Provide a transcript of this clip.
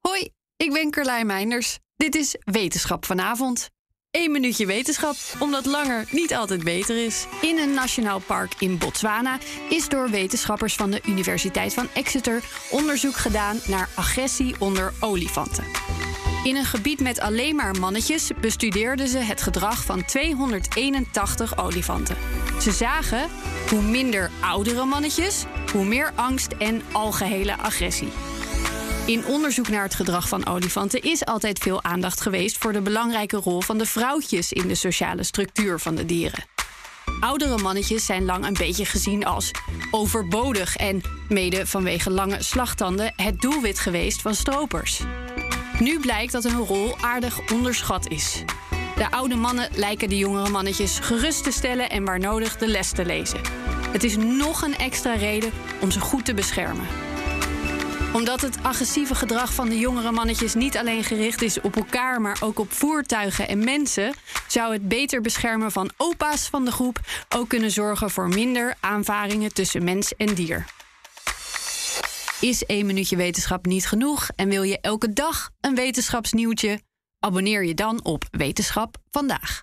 Hoi, ik ben Carlijn Meinders. Dit is Wetenschap vanavond. Eén minuutje wetenschap, omdat langer niet altijd beter is. In een nationaal park in Botswana is door wetenschappers van de Universiteit van Exeter onderzoek gedaan naar agressie onder olifanten. In een gebied met alleen maar mannetjes bestudeerden ze het gedrag van 281 olifanten. Ze zagen hoe minder oudere mannetjes, hoe meer angst en algehele agressie. In onderzoek naar het gedrag van olifanten is altijd veel aandacht geweest voor de belangrijke rol van de vrouwtjes in de sociale structuur van de dieren. Oudere mannetjes zijn lang een beetje gezien als overbodig en, mede vanwege lange slagtanden, het doelwit geweest van stropers. Nu blijkt dat hun rol aardig onderschat is. De oude mannen lijken de jongere mannetjes gerust te stellen en waar nodig de les te lezen. Het is nog een extra reden om ze goed te beschermen omdat het agressieve gedrag van de jongere mannetjes niet alleen gericht is op elkaar, maar ook op voertuigen en mensen, zou het beter beschermen van opa's van de groep ook kunnen zorgen voor minder aanvaringen tussen mens en dier. Is één minuutje wetenschap niet genoeg en wil je elke dag een wetenschapsnieuwtje? Abonneer je dan op Wetenschap vandaag.